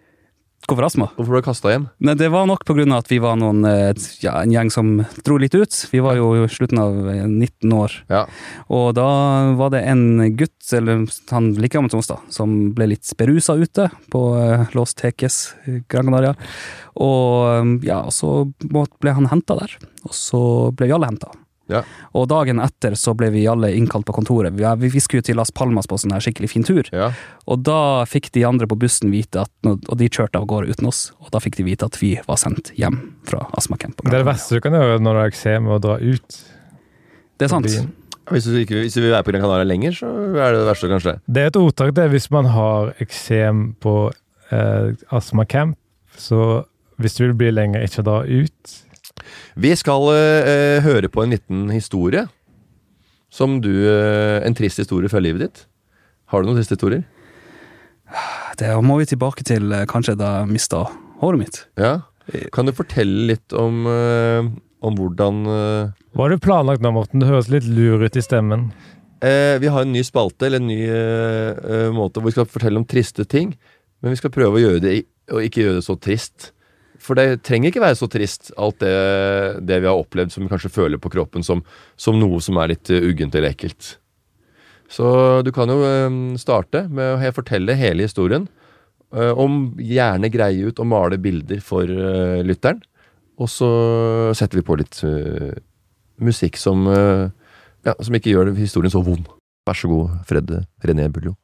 Hvorfor astma?
Hvorfor ble du kasta hjem?
Nei, det var nok på grunn av at vi var noen, eh, ja, en gjeng som dro litt ut. Vi var jo i slutten av eh, 19 år.
Ja.
Og da var det en gutt, eller han like gammel som oss da, som ble litt berusa ute på eh, Los Teques, eh, Gran Canaria. Og eh, ja, og så må- ble han henta der. Og så ble vi alle henta.
Ja.
Og dagen etter så ble vi alle innkalt på kontoret. Vi, vi skulle til Las Palmas på sånn her skikkelig fin tur.
ja.
Og da fikk de andre på bussen vite at Og de kjørte av gårde uten oss. Og da fikk de vite at vi var sendt hjem fra astmacamp.
Det er det verste du kan gjøre når du har eksem, å dra ut.
Det er sant.
Byen.
Hvis du, ikke, hvis du vil være på Gran Canaria lenger, så er det det verste, kanskje.
Det er et ordtak det, hvis man har eksem på eh, astmacamp, så hvis du vil bli lenger, ikke dra ut.
Vi skal eh, eh, høre på en liten historie. Som du eh, En trist historie fra livet ditt. Har du noen triste historier?
Det må vi tilbake til eh, kanskje da jeg mista håret mitt.
Ja. Kan du fortelle litt om, eh, om hvordan eh,
Hva har du planlagt nå, Morten? Du høres litt lur ut i stemmen.
Eh, vi har en ny spalte, eller en ny eh, eh, måte, hvor vi skal fortelle om triste ting. Men vi skal prøve å gjøre det i- og ikke gjøre det så trist. For det trenger ikke være så trist, alt det, det vi har opplevd som vi kanskje føler på kroppen som, som noe som er litt eh, uggent eller ekkelt. Så du kan jo eh, starte med å he- fortelle hele historien. eh, om Gjerne greie ut og male bilder for eh, lytteren. Og så setter vi på litt eh, musikk som eh, ja, som ikke gjør historien så vond. Vær så god, Fred René Buljo.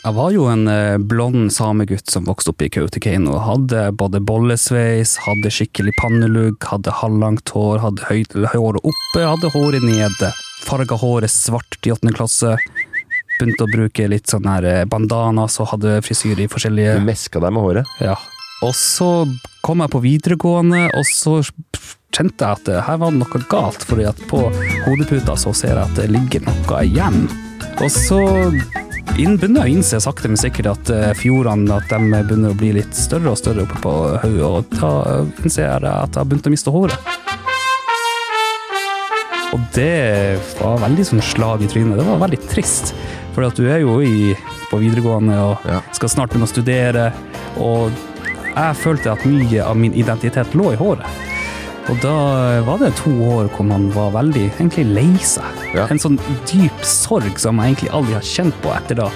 Jeg var jo en eh, blond samegutt som vokste opp i Kautokeino. Hadde både bollesveis, hadde skikkelig pannelugg, hadde halvlangt hår, hadde høyt håret oppe, hadde håret nede. Farga håret svart i åttende klasse. Begynte å bruke litt sånn her eh, bandanas og hadde frisyre i forskjellige
Du meska deg med håret.
Ja. Og så kom jeg på videregående, og så kjente jeg at det her var noe galt, fordi at på hodeputa så ser jeg at det ligger noe igjen. Og så inn, begynner jeg å innse sakte, men sikkert at eh, fjordene at de begynner å bli litt større og større oppe på hodet, og da innser jeg at jeg har begynt å miste håret. Og det var veldig sånn slag i trynet. Det var veldig trist, for at du er jo i, på videregående og
Ja.
skal snart begynne å studere, og jeg følte at mye av min identitet lå i håret. Og da var det to år hvor man var veldig egentlig lei seg.
Ja.
En sånn dyp sorg som jeg egentlig aldri har kjent på etter da.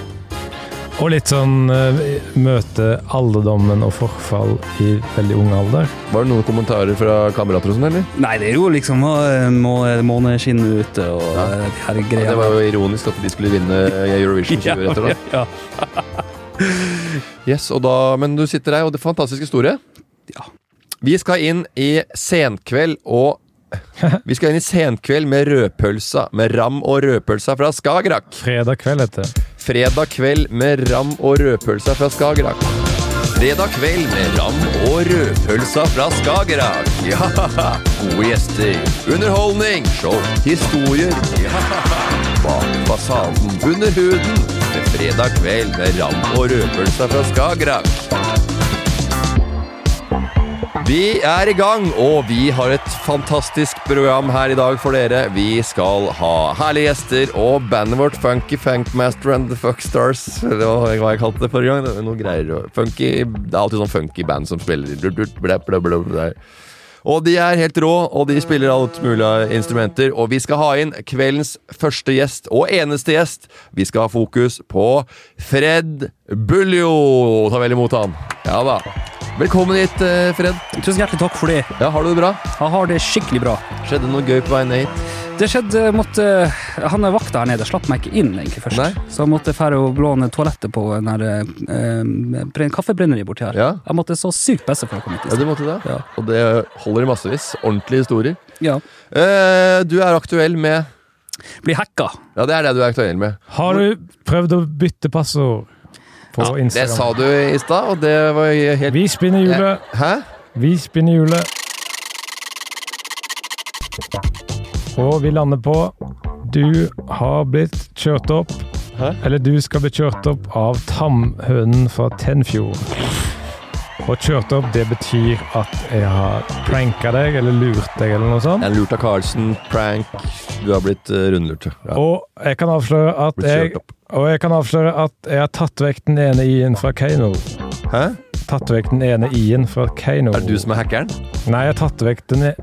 Og litt sånn eh, møte alderdommen og forfall i veldig ung alder.
Var det noen kommentarer fra kamerater og sånn, eller?
Nei, det er jo liksom må, må, måneskinnet ute og
Ja.
eh, de her
Ja,
greiene.
det var jo ironisk at de skulle vinne <laughs> Eurovision 20 år etter, da.
<laughs> Ja,
Yes, og da, men du sitter der, og det er fantastisk historie.
Ja.
<laughs> Vi skal inn i Senkveld og Vi skal inn i senkveld med rødpølsa, med ram og rødpølsa fra Skagerrak.
Fredag kveld heter det.
Fredag kveld med ram og rødpølsa fra Skagerrak. Fredag kveld med ram og rødpølsa fra Skagerrak. <laughs> Ja, gode gjester. Underholdning, show, historier. <laughs> Ja, bak fasaden, under huden. Med fredag kveld med ram og rødpølsa fra Skagerrak. Vi er i gang, og vi har et fantastisk program her i dag for dere. Vi skal ha herlige gjester og bandet vårt Funky Funkmaster and the Fuckstars. Det var hva jeg kalte det forrige gang. Det er Noe greier. og- Funky, det er alltid sånn funky band som spiller. Blub, blub, blub, blub, blub, blub. Og de er helt rå, og de spiller alt mulig av instrumenter. Og vi skal ha inn kveldens første gjest, og eneste gjest. Vi skal ha fokus på Fred Buljo. Ta vel imot han. Ja da. Velkommen hit, eh, Fred.
Tusen hjertelig takk for det.
Ja, Har du det bra?
Jeg har det skikkelig bra.
Skjedde noe gøy på veien hit?
Det skjedde måtte, Han er vakta her nede slapp meg ikke inn egentlig først.
Nei.
Så jeg måtte fære og låne toalettet på den her, eh, brenn- kaffebrenneriet borti her.
Ja.
Jeg måtte så sykt bæsje for å komme
Ja,
hit.
du måtte det?
Ja.
Og det holder i massevis. Ordentlige historier.
Ja.
Eh, du er aktuell med
Bli hacka.
Ja, det er det du er aktuell med.
Har du prøvd å bytte passord på
Det sa
Instagram?
du i stad, og det var helt
Vi spinner hjulet.
Hæ?
Vi spinner hjulet. Og vi lander på Du har blitt kjørt opp
Hæ?
Eller du skal bli kjørt opp av tamhunden fra Tenfjord. Og kjørt opp, det betyr at jeg har pranka deg eller lurt deg eller noe sånt.
En lurt av Carlsen, prank Du har blitt eh, rundlurt. Ja.
Og jeg kan avsløre at
Blitt
jeg
kjørt opp.
og jeg kan avsløre at jeg har tatt vekk den ene i-en fra Kano.
Hæ?
Tatt vekk den ene i-en fra Kano.
Er det du som er hackeren?
Nei, jeg har tatt vekk den e-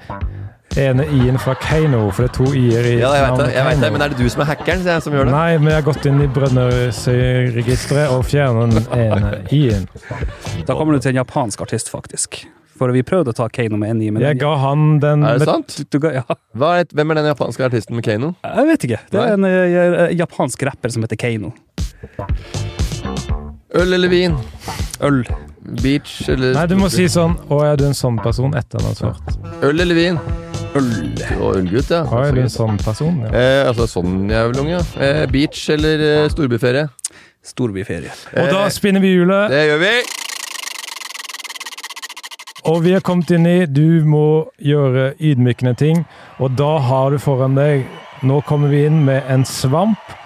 ene i-en fra Kano, for det er to i-er i
Ja, jeg vet det, jeg vet det,
Kano.
men er det du som er hackeren sier jeg, som gjør det?
Nei, men jeg har gått inn i Brønnøysøyregisteret og fjernet den ene i-en.
Da kommer du til en japansk artist, faktisk. For vi prøvde å ta Kano med en i, men
Jeg ga han den
Er det
med
sant?
Du, du, ga- ja.
Hva er, hvem er den japanske artisten med Kano?
Jeg vet ikke. Det er en eh, japansk rapper som heter Kano.
Øl eller vin?
Øl.
Beach eller
Nei, du må si sånn Å, er du en sånn person? Etter han har svart.
Øl eller vin?
Øl.
Du var ølgutt, ja.
Å, er du en
Altså,
sånn person? Ja.
eh, altså sånn jævelunge, ja. Eh, beach eller eh, storbyferie?
Storbyferie.
Eh,
Og da spinner vi hjulet,
Det gjør vi!
og vi har kommet inn i Du må gjøre ydmykende ting, og da har du foran deg Nå kommer vi inn med en svamp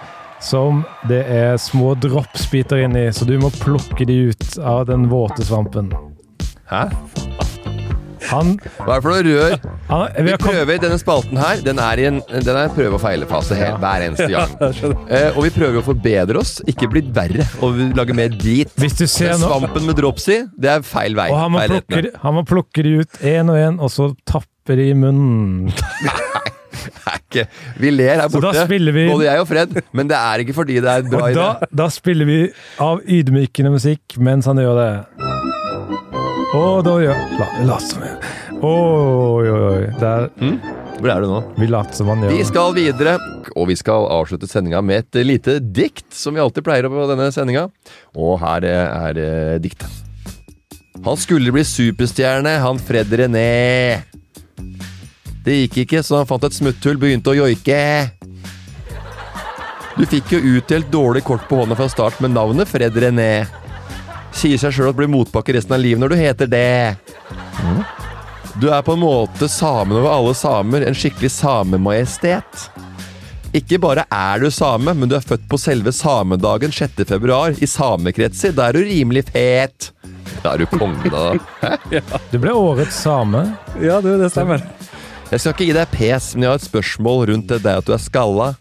som det er små droppsbiter inni, så du må plukke de ut av den våte svampen.
Hæ?
Han,
Hva er det for noe rør?
han
Vi
vi har kommet,
prøver denne spalten her. Den er i en, den er en prøve- og feilefase helt, hver
<laughs>
eneste gang. Eh, og vi prøver å forbedre oss, ikke bli verre og lage mer drit.
Hvis du ser
Den
nå
svampen med drops i, det er feil vei.
Og han må,
Feil
plukke,
retning.
de- han må plukke de ut én og én, og så tappe de i munnen.
Det er ikke- Vi ler her
Så da
borte,
spiller vi-
både jeg og Fred, men det er ikke fordi det er en bra
Og da,
idé.
da spiller vi av ydmykende musikk mens han gjør det. Og da gjør La, la oss som jeg Oi, oi, oi. Der,
Hvor er du nå?
vi later som han gjør
Vi
det.
skal videre, og vi skal avslutte sendinga med et lite dikt, som vi alltid pleier på denne sendinga. Og her eh, er eh, diktet. Han skulle bli superstjerne, han Fred René. Det gikk ikke, så han fant et smutthull, begynte å joike. Du fikk jo utdelt dårlig kort på hånda fra start med navnet Fred René. Sier seg sjøl at det blir motbakke resten av livet når du heter det. Du er på en måte samen over alle samer, en skikkelig samemajestet. Ikke bare er du same, men du er født på selve samedagen 6. februar i samekretser. Da er du rimelig fet. Da er du konge, da.
Du ble årets same.
Ja, du, det stemmer.
Jeg skal ikke gi deg pes, men jeg har et spørsmål rundt det deg at du er skalla.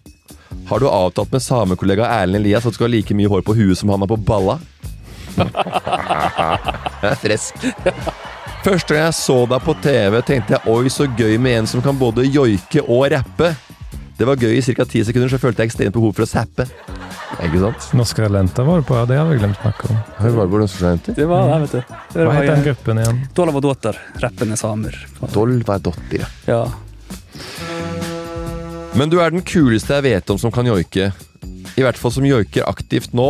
Har du avtalt med samekollega Erlend Elias at du skal ha like mye hår på huet som han har på balla? Det er fresk. Første gang jeg så deg på TV, tenkte jeg oi, så gøy med en som kan både joike og rappe. Det var gøy i ca. ti sekunder, så følte jeg ekstremt behov for å zappe. Ikke sant?
Norske talenter var det på, ja, det har vi glemt å snakke om.
Hør hva det går
Det var det, vet du. Det
Hva
var,
het den gruppen igjen?
Dolavadoter, rappende samer.
Dolva dotter, ja.
Ja.
Men du er den kuleste jeg vet om som kan joike. I hvert fall som joiker aktivt nå.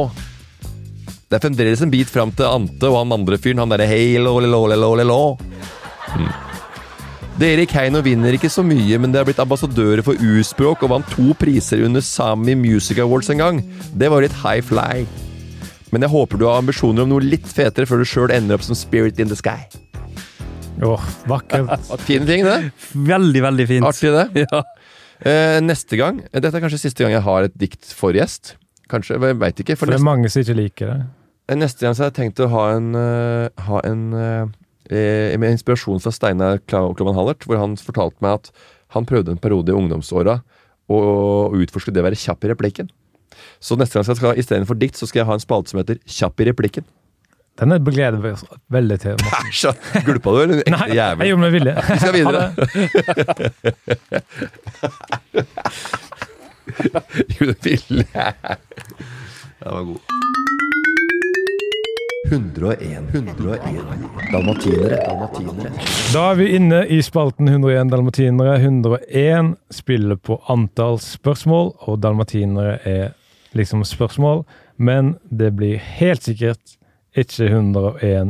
Det er fremdeles en bit fram til Ante og han andre fyren, han derre hei lo, lo, lo, lo, lo, lo. Mm. Dere i Keiino vinner ikke så mye, men dere har blitt ambassadører for urspråk og vant to priser under Sami Music Awards en gang. Det var litt high fly. Men jeg håper du har ambisjoner om noe litt fetere før du sjøl ender opp som Spirit in the Sky.
Åh, vakkert.
Fine ting, det.
Veldig, veldig fint.
Artig, det.
Ja.
Eh, neste gang Dette er kanskje siste gang jeg har et dikt for gjest. Kanskje, jeg vet ikke. For
For det er
neste, eh,
mange som ikke liker det.
neste gang så har jeg tenkt å ha en, eh, ha en eh, Med inspirasjon fra Steinar Kla- Klovan Hallert, hvor han fortalte meg at han prøvde en periode i ungdomsåra å å utforske det å være kjapp i replikken. Så neste gang så skal jeg istedenfor dikt så skal jeg ha en spalte som heter Kjapp i replikken.
Den er- gleder vi oss veldig til.
Æsj! da. Gulpa du, eller? Ekte
<laughs> Nei, jeg
jævel.
gjorde meg villig.
Vi skal videre. <laughs> Gjorde det ville. Den var god. 101, 101 dalmatinere, dalmatinere.
Da er vi inne i spalten 101 dalmatinere. 101 spiller på antall spørsmål, og dalmatinere er liksom spørsmål. Men det blir helt sikkert ikke 101 eh,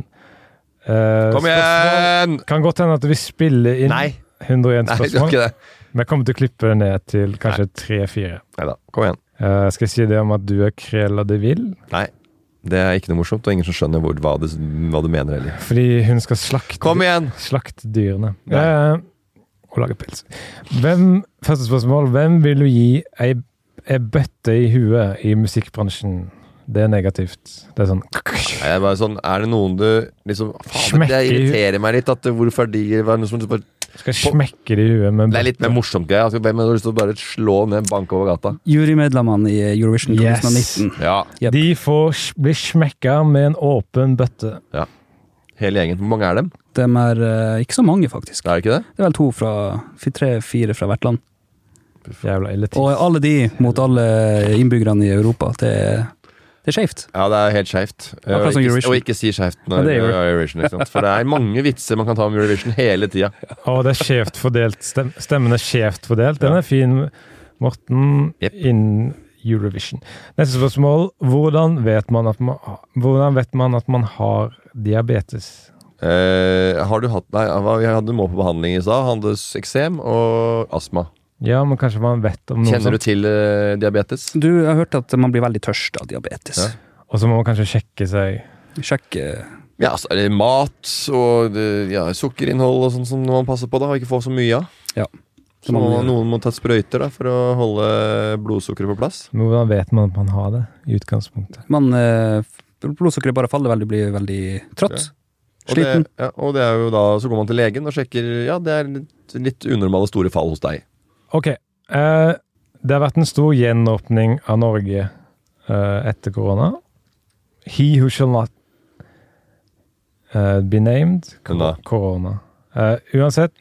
Kom
spørsmål.
igjen!
Kan godt hende at vi spiller inn
Nei.
101
Nei, det
spørsmål.
var ikke det.
Men jeg kommer til å klippe det ned til kanskje tre-fire.
Neida, Kom igjen.
Eh, skal jeg si det om at du er Crela de Ville?
Nei. Det er ikke noe morsomt, og ingen som skjønner hvor, hva, du, hva du mener heller.
Fordi hun skal slakte
Kom igjen!
Slakt dyrene.
Nei.
Eh, og lage pils. Hvem, første spørsmål. Hvem vil du gi ei, ei bøtte i huet i musikkbransjen? Det er negativt. Det er sånn
Nei, jeg er bare sånn, Er det noen du liksom Faen, det
Smekker i hu-
irriterer meg litt. At det, hvorfor er de det var noe som du bare,
Skal jeg smekke det i huet med en
Det er litt mer
bøtte?
morsomt, greia. Altså, hvem har lyst til å bare slå ned, banke over gata?
Jurymedlemmene i Eurovision
Yes.
2019.
Ja,
Jep.
De får s- bli smekka med en åpen bøtte.
hele gjengen. Hvor mange er dem?
De er eh, ikke så mange, faktisk.
Er det ikke det?
Det er vel to fra Tre-fire fra hvert land.
Jævla elitt.
Og alle de mot alle innbyggerne i Europa. Det, det er skeivt.
Ja, det er helt skeivt. Og,
Akkurat som
ikke-
Eurovision.
og ikke si skeivt når
Ja,
det
det gjør
er Eurovision. Ikke sant? For det er mange vitser man kan ta om Eurovision hele tida.
Og det er skjevt fordelt. Stem, stemmen er skjevt fordelt. Den er fin, Morten.
Jep.
Innen Eurovision. Neste spørsmål. Hvordan vet man at man, hvordan vet man, at man har diabetes?
Eh, har du hatt Nei, hva- vi hadde må på behandling i stad. Han hadde s- eksem og astma.
Ja, men kanskje man vet om noe
Kjenner du
sånt.
til eh, diabetes?
Du, jeg har hørt at man blir veldig tørst av diabetes.
Ja.
Og så må man kanskje sjekke seg.
Sjekk eh,
Ja, altså, er det mat og det, ja, sukkerinnhold og sånn som man passer på, da, og ikke få så mye av.
Ja.
Så
må
må,
man
noen må ta sprøyter da, for å holde blodsukkeret på plass.
Men hvordan vet man at man har det i utgangspunktet?
Man, eh, blodsukkeret bare faller veldig, blir veldig trøtt.
Og
Sliten.
det, ja, og det er jo da, så går man til legen og sjekker Ja, det er litt, litt unormale store fall hos deg.
Ok, eh, det har vært en stor gjenåpning av Norge eh, etter korona. He who shall not eh, be named kor-
Nei.
korona. Eh, uansett,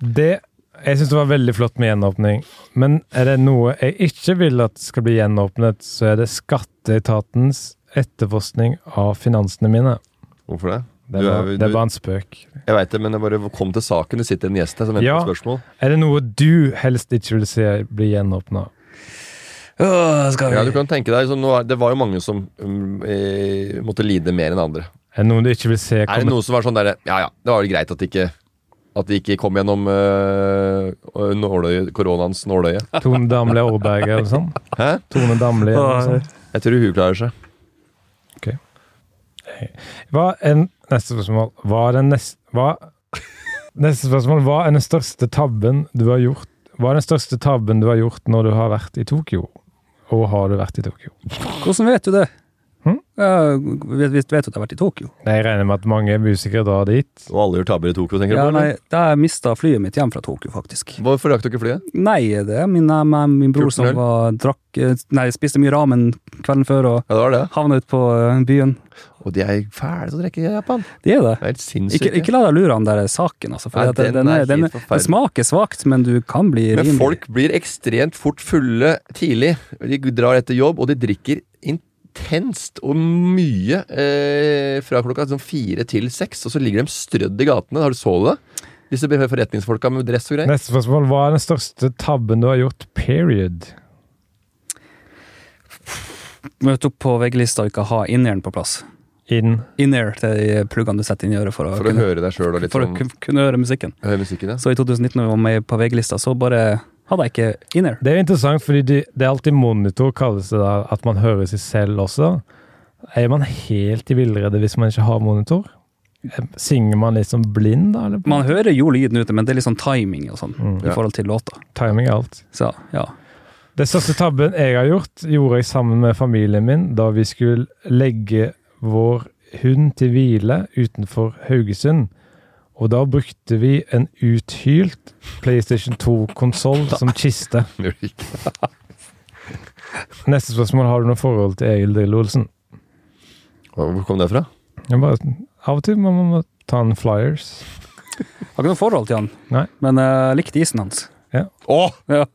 det Jeg syns det var veldig flott med gjenåpning, men er det noe jeg ikke vil at skal bli gjenåpnet, så er det skatteetatens etterforskning av finansene mine.
Hvorfor det?
Det
Du
er,
er
bare,
jo-
det
du-
er bare en spøk.
Jeg veit det, men jeg bare kom til saken. Det sitter en gjest her som venter
Ja.
på spørsmål.
Er det noe du helst ikke vil se bli gjenåpna?
Åh, skal vi
Ja, du kan tenke deg, så nå er, Det var jo mange som mm, eh, måtte lide mer enn andre.
Er det noe du ikke vil se
Er det
komme?
noe som var sånn derre Ja ja, det var vel greit at de ikke, at de ikke kom gjennom eh, nåløye, koronaens nåløye.
Tone Damli Aarberger eller sånn?
Hæ?
Tone Damli eller noe sånt?
Jeg tror hun klarer seg.
Hva er neste spørsmål? Hva er den neste hva, Neste spørsmål. Hva er den største tabben du har gjort Hva er den største tabben du har gjort når du har vært i Tokyo? Og har du vært i Tokyo?
Hvordan vet du det?
Hm?
Ja, vet, vet, vet du at jeg har vært i Tokyo?
Jeg regner med at mange musikere drar dit.
Og alle gjør tabber i Tokyo, tenker
Ja,
du på?
nei,
eller?
da jeg mista flyet mitt hjem fra Tokyo, faktisk.
Hvorfor rakk du ikke flyet?
Nei, det er min, nei, min bror som
14 øl.
var, drakk eh, Nei, spiste mye ramen kvelden før og
Ja, det var det.
havna ute på eh, byen.
Og de er fæle til å drikke i Japan.
De er
Det
det.
er helt
Ikke,
sinnssykt.
ikke la deg lure av den der saken, altså. For
Nei,
at den,
den
den,
er
er, den,
helt
den,
forferdelig.
smaker svakt, men du kan bli
Men
rimelig
folk blir ekstremt fort fulle tidlig. De drar etter jobb, og de drikker intenst og mye eh, fra klokka sånn fire til seks. Og så ligger de strødd i gatene. Har du så du det? Disse forretningsfolka med dress og greier.
Neste spørsmål. Hva er den største tabben du har gjort? Period.
Møte opp på VG-lista og ikke ha inneren på plass.
Inn.
in-ear til de pluggene du setter inn i øret for å,
For å
kunne,
høre deg sjøl og litt
for å
sånn
kun- kunne høre musikken.
Høre musikken, ja.
Så i 2019 når vi var med på VG-lista, så bare hadde jeg ikke in-ear.
Det er jo interessant, fordi de, det er alltid monitor, kalles det da, at man hører seg selv også. Er man helt i villrede hvis man ikke har monitor? Synger man liksom blind, da? Eller?
Man hører jo lyden ute, men det er litt sånn timing og sånn
Mm,
ja.
i forhold til låta.
Timing er alt.
Så ja.
Den største tabben jeg har gjort, gjorde jeg sammen med familien min da vi skulle legge vår hund til hvile utenfor Haugesund. Og da brukte vi en uthylt PlayStation 2-konsoll som kiste.
Gjør <laughs> det ikke.
Neste spørsmål har du noe forhold til Egil Drillo Olsen?
Hvor kom det fra?
Jeg bare, av og til må man må ta en flyers.
Har ikke noe forhold til han,
Nei.
men jeg likte isen hans.
Å!
Ja.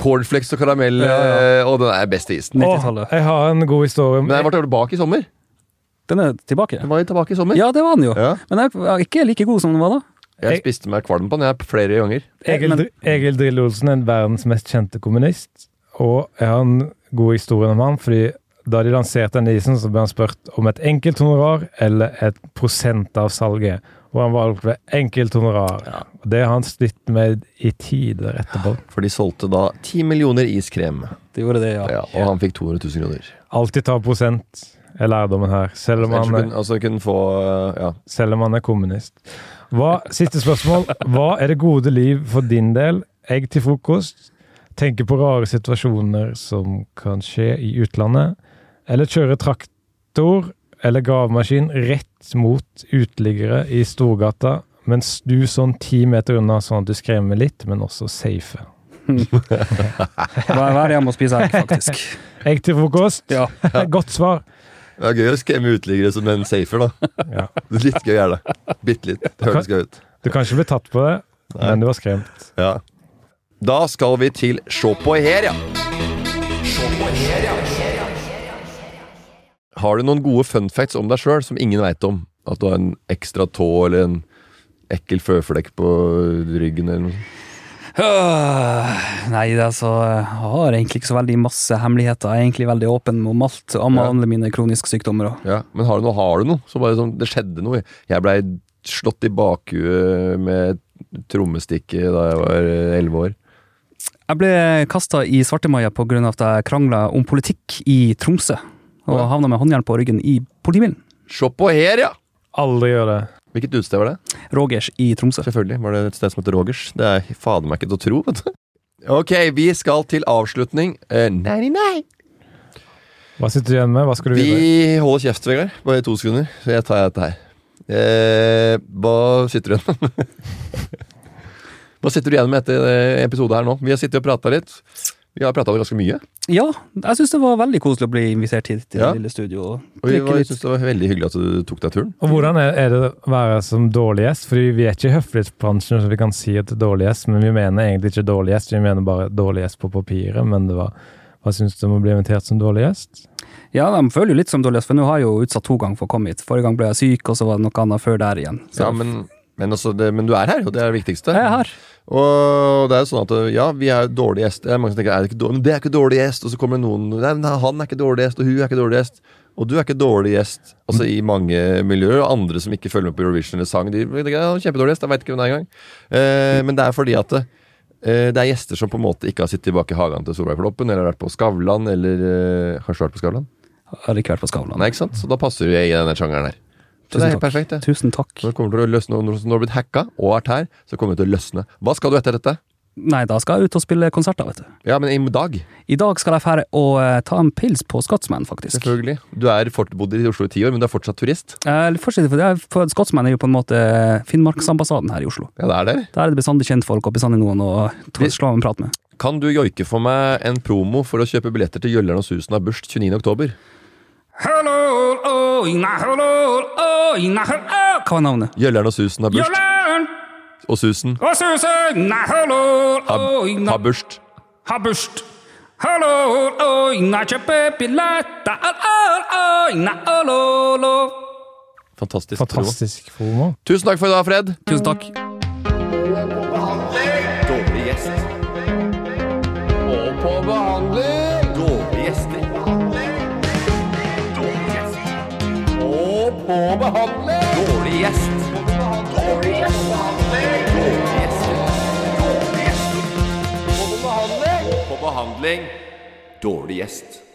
Cornflakes og karamell.
Ja, ja.
eh, Og den er best i isen.
90-tallet.
Åh, jeg har en god historie. om-
Men jeg var tilbake i sommer.
Den er tilbake.
Den var jo tilbake i sommer.
Ja, det var den jo.
Ja.
Men den er ikke like god som den var da.
Jeg spiste meg kvalm på den jeg flere ganger.
Egil,
Men-
Egil Drillo Olsen er verdens mest kjente kommunist, og jeg har en god historie om han, fordi da de lanserte denne isen, så ble han spurt om et enkelt honorar eller et prosent av salget. Og han valgte enkelt honorar. Og Det har han slitt med i tider etterpå.
For de solgte da 10 millioner iskrem.
Det gjorde det, ja.
Ja,
<laughs>
og han fikk 200 000 kroner.
Alltid ta prosent, er lærdommen her, selv om
Ellers
han er,
kunne, altså kunne få eh, ja.
selv om han er kommunist. Hva, siste spørsmål. Hva er det gode liv for din del? Egg til frokost? Tenke på rare situasjoner som kan skje i utlandet? Eller kjøre traktor eller gravemaskin rett mot uteliggere i Storgata, men snu sånn ti meter unna, sånn at du skremmer litt, men også safe.
Vær, vær hjemme og spise egg,
<laughs>
faktisk.
Egg til frokost?
Ja.
<laughs> Godt svar.
Det er gøy å skremme uteliggere som en safer, da.
Ja.
Litt gøy er det. Bitte litt. Det hørtes gøy ut.
Du kan ikke bli tatt på det, men du var skremt.
Ja. Da skal vi til Sjå på her, ja. Har du noen gode fun facts om deg sjøl som ingen veit om? At du har en ekstra tå eller en ekkel føflekk på ryggen eller noe sånt?
Øh, Nei, det er så, jeg har egentlig ikke så veldig masse hemmeligheter. Jeg er egentlig veldig åpen om alt, om
Ja.
alle mine kroniske sykdommer. og-
Ja, men har du noe, har du noe? Så bare sånn, det skjedde noe. Jeg blei slått i bakhuet med trommestikke da jeg var eh, elleve år.
Jeg ble kasta i svartemaja pga. at jeg krangla om politikk i Tromsø. Og
Ja.
havna med håndjern på ryggen i politibilen.
Se på her, ja!
Aldri gjør det.
Hvilket utested var det?
Rogers i Tromsø.
Selvfølgelig var det et sted som heter Rogers. Det er fader meg ikke til å tro, vet du. Ok, vi skal til avslutning. Eh, nei, nei, nei.
Hva sitter du igjen med? Hva skal du videre?
Vi holder kjeft, Vegard. Bare to sekunder, så jeg tar dette her. Eh, hva sitter du igjen med? <laughs> Hva sitter du igjen med etter eh, episode her nå? Vi har sittet og prata litt. Vi har prata ganske mye.
Ja, jeg syns det var veldig koselig å bli invitert hit til
Ja.
det lille studio. Og
Og vi
drikke
var- jeg
litt.
synes det var veldig hyggelig at du tok deg turen.
Og hvordan er, er det å være som dårlig gjest? Fordi vi er ikke i høflighetsbransjen, så vi kan si at det er dårlig gjest, men vi mener egentlig ikke dårlig gjest, vi mener bare dårlig gjest på papiret, men det var hva synes du om å bli invitert som dårlig gjest?
Ja, de føler jo litt som dårligst, for nå har jeg jo utsatt to ganger for å komme hit. Forrige gang ble jeg syk, og så var det noe annet før der igjen. Så
Ja, men, men, altså, det, men du er her, og det er det viktigste.
jeg er her.
Og det er jo sånn at ja, vi er jo dårlige gjester. Det er mange som tenker er det, ikke dårlig? Men det er ikke dårlig gjest, og så kommer det noen Nei, men han er ikke dårlig gjest, og hun er ikke dårlig gjest. Og du er ikke dårlig gjest Altså i mange miljøer. Og andre som ikke følger med på Eurovision eller sang, de tenker ja, han er kjempedårlig gjest. Jeg veit ikke hvem det er engang. Eh, men det er fordi at det, eh, det er gjester som på en måte ikke har sittet tilbake i hagen til Solveig Kloppen, eller vært på Skavlan, eller eh, Har du vært på Skavlan?
Jeg har ikke vært på Skavlan.
Nei, ikke sant? Så da passer du i denne sjangeren her. Så det er
Tusen
helt
takk.
perfekt, det.
Tusen takk.
Når det kommer til å løsne, når du har blitt hacka og er her, så kommer det til å løsne. Hva skal du etter dette?
Nei, da skal jeg ut og spille konserter, vet du.
Ja, men i dag,
I dag skal jeg fære og eh, ta en pils på Scotsman, faktisk.
selvfølgelig. Du er fort, bodd i Oslo i ti år, men du er fortsatt turist.
Eh, Fortsett, for det er- for Scotsman er jo på en måte eh, Finnmarksambassaden her i Oslo.
Ja, det er det.
Der er det bestandig kjentfolk og bestandig noen å ta-
Vi-
slå av en prat med.
Kan du joike for meg en promo for å kjøpe billetter til Jøllern og Susen av Børst 29. oktober?
Hello, oh, inna, hello, oh, inna, hel- ah! Hva var navnet?
Jøllern og Susen av Børst
Jørgen
og Susen
og Susan, inna, hello, oh, inna,
har Børst.
ha børst. Hello, oh, inna, kjøpe billetter, ah, ah, ah, inna, oh, lo, lo.
Fantastisk, Fantastisk.
Fantastisk promo.
promo. Tusen takk for i dag, Fred.
Tusen takk.
Dårlig gjest. Og på behandling. Dårlig gjester. Dårlig gjest. Og
på behandling! Dårlig gjest. Dårlig gjest. Dårlig gjest. Dårlig gjest. På behandling. På behandling. Dårlig gjest.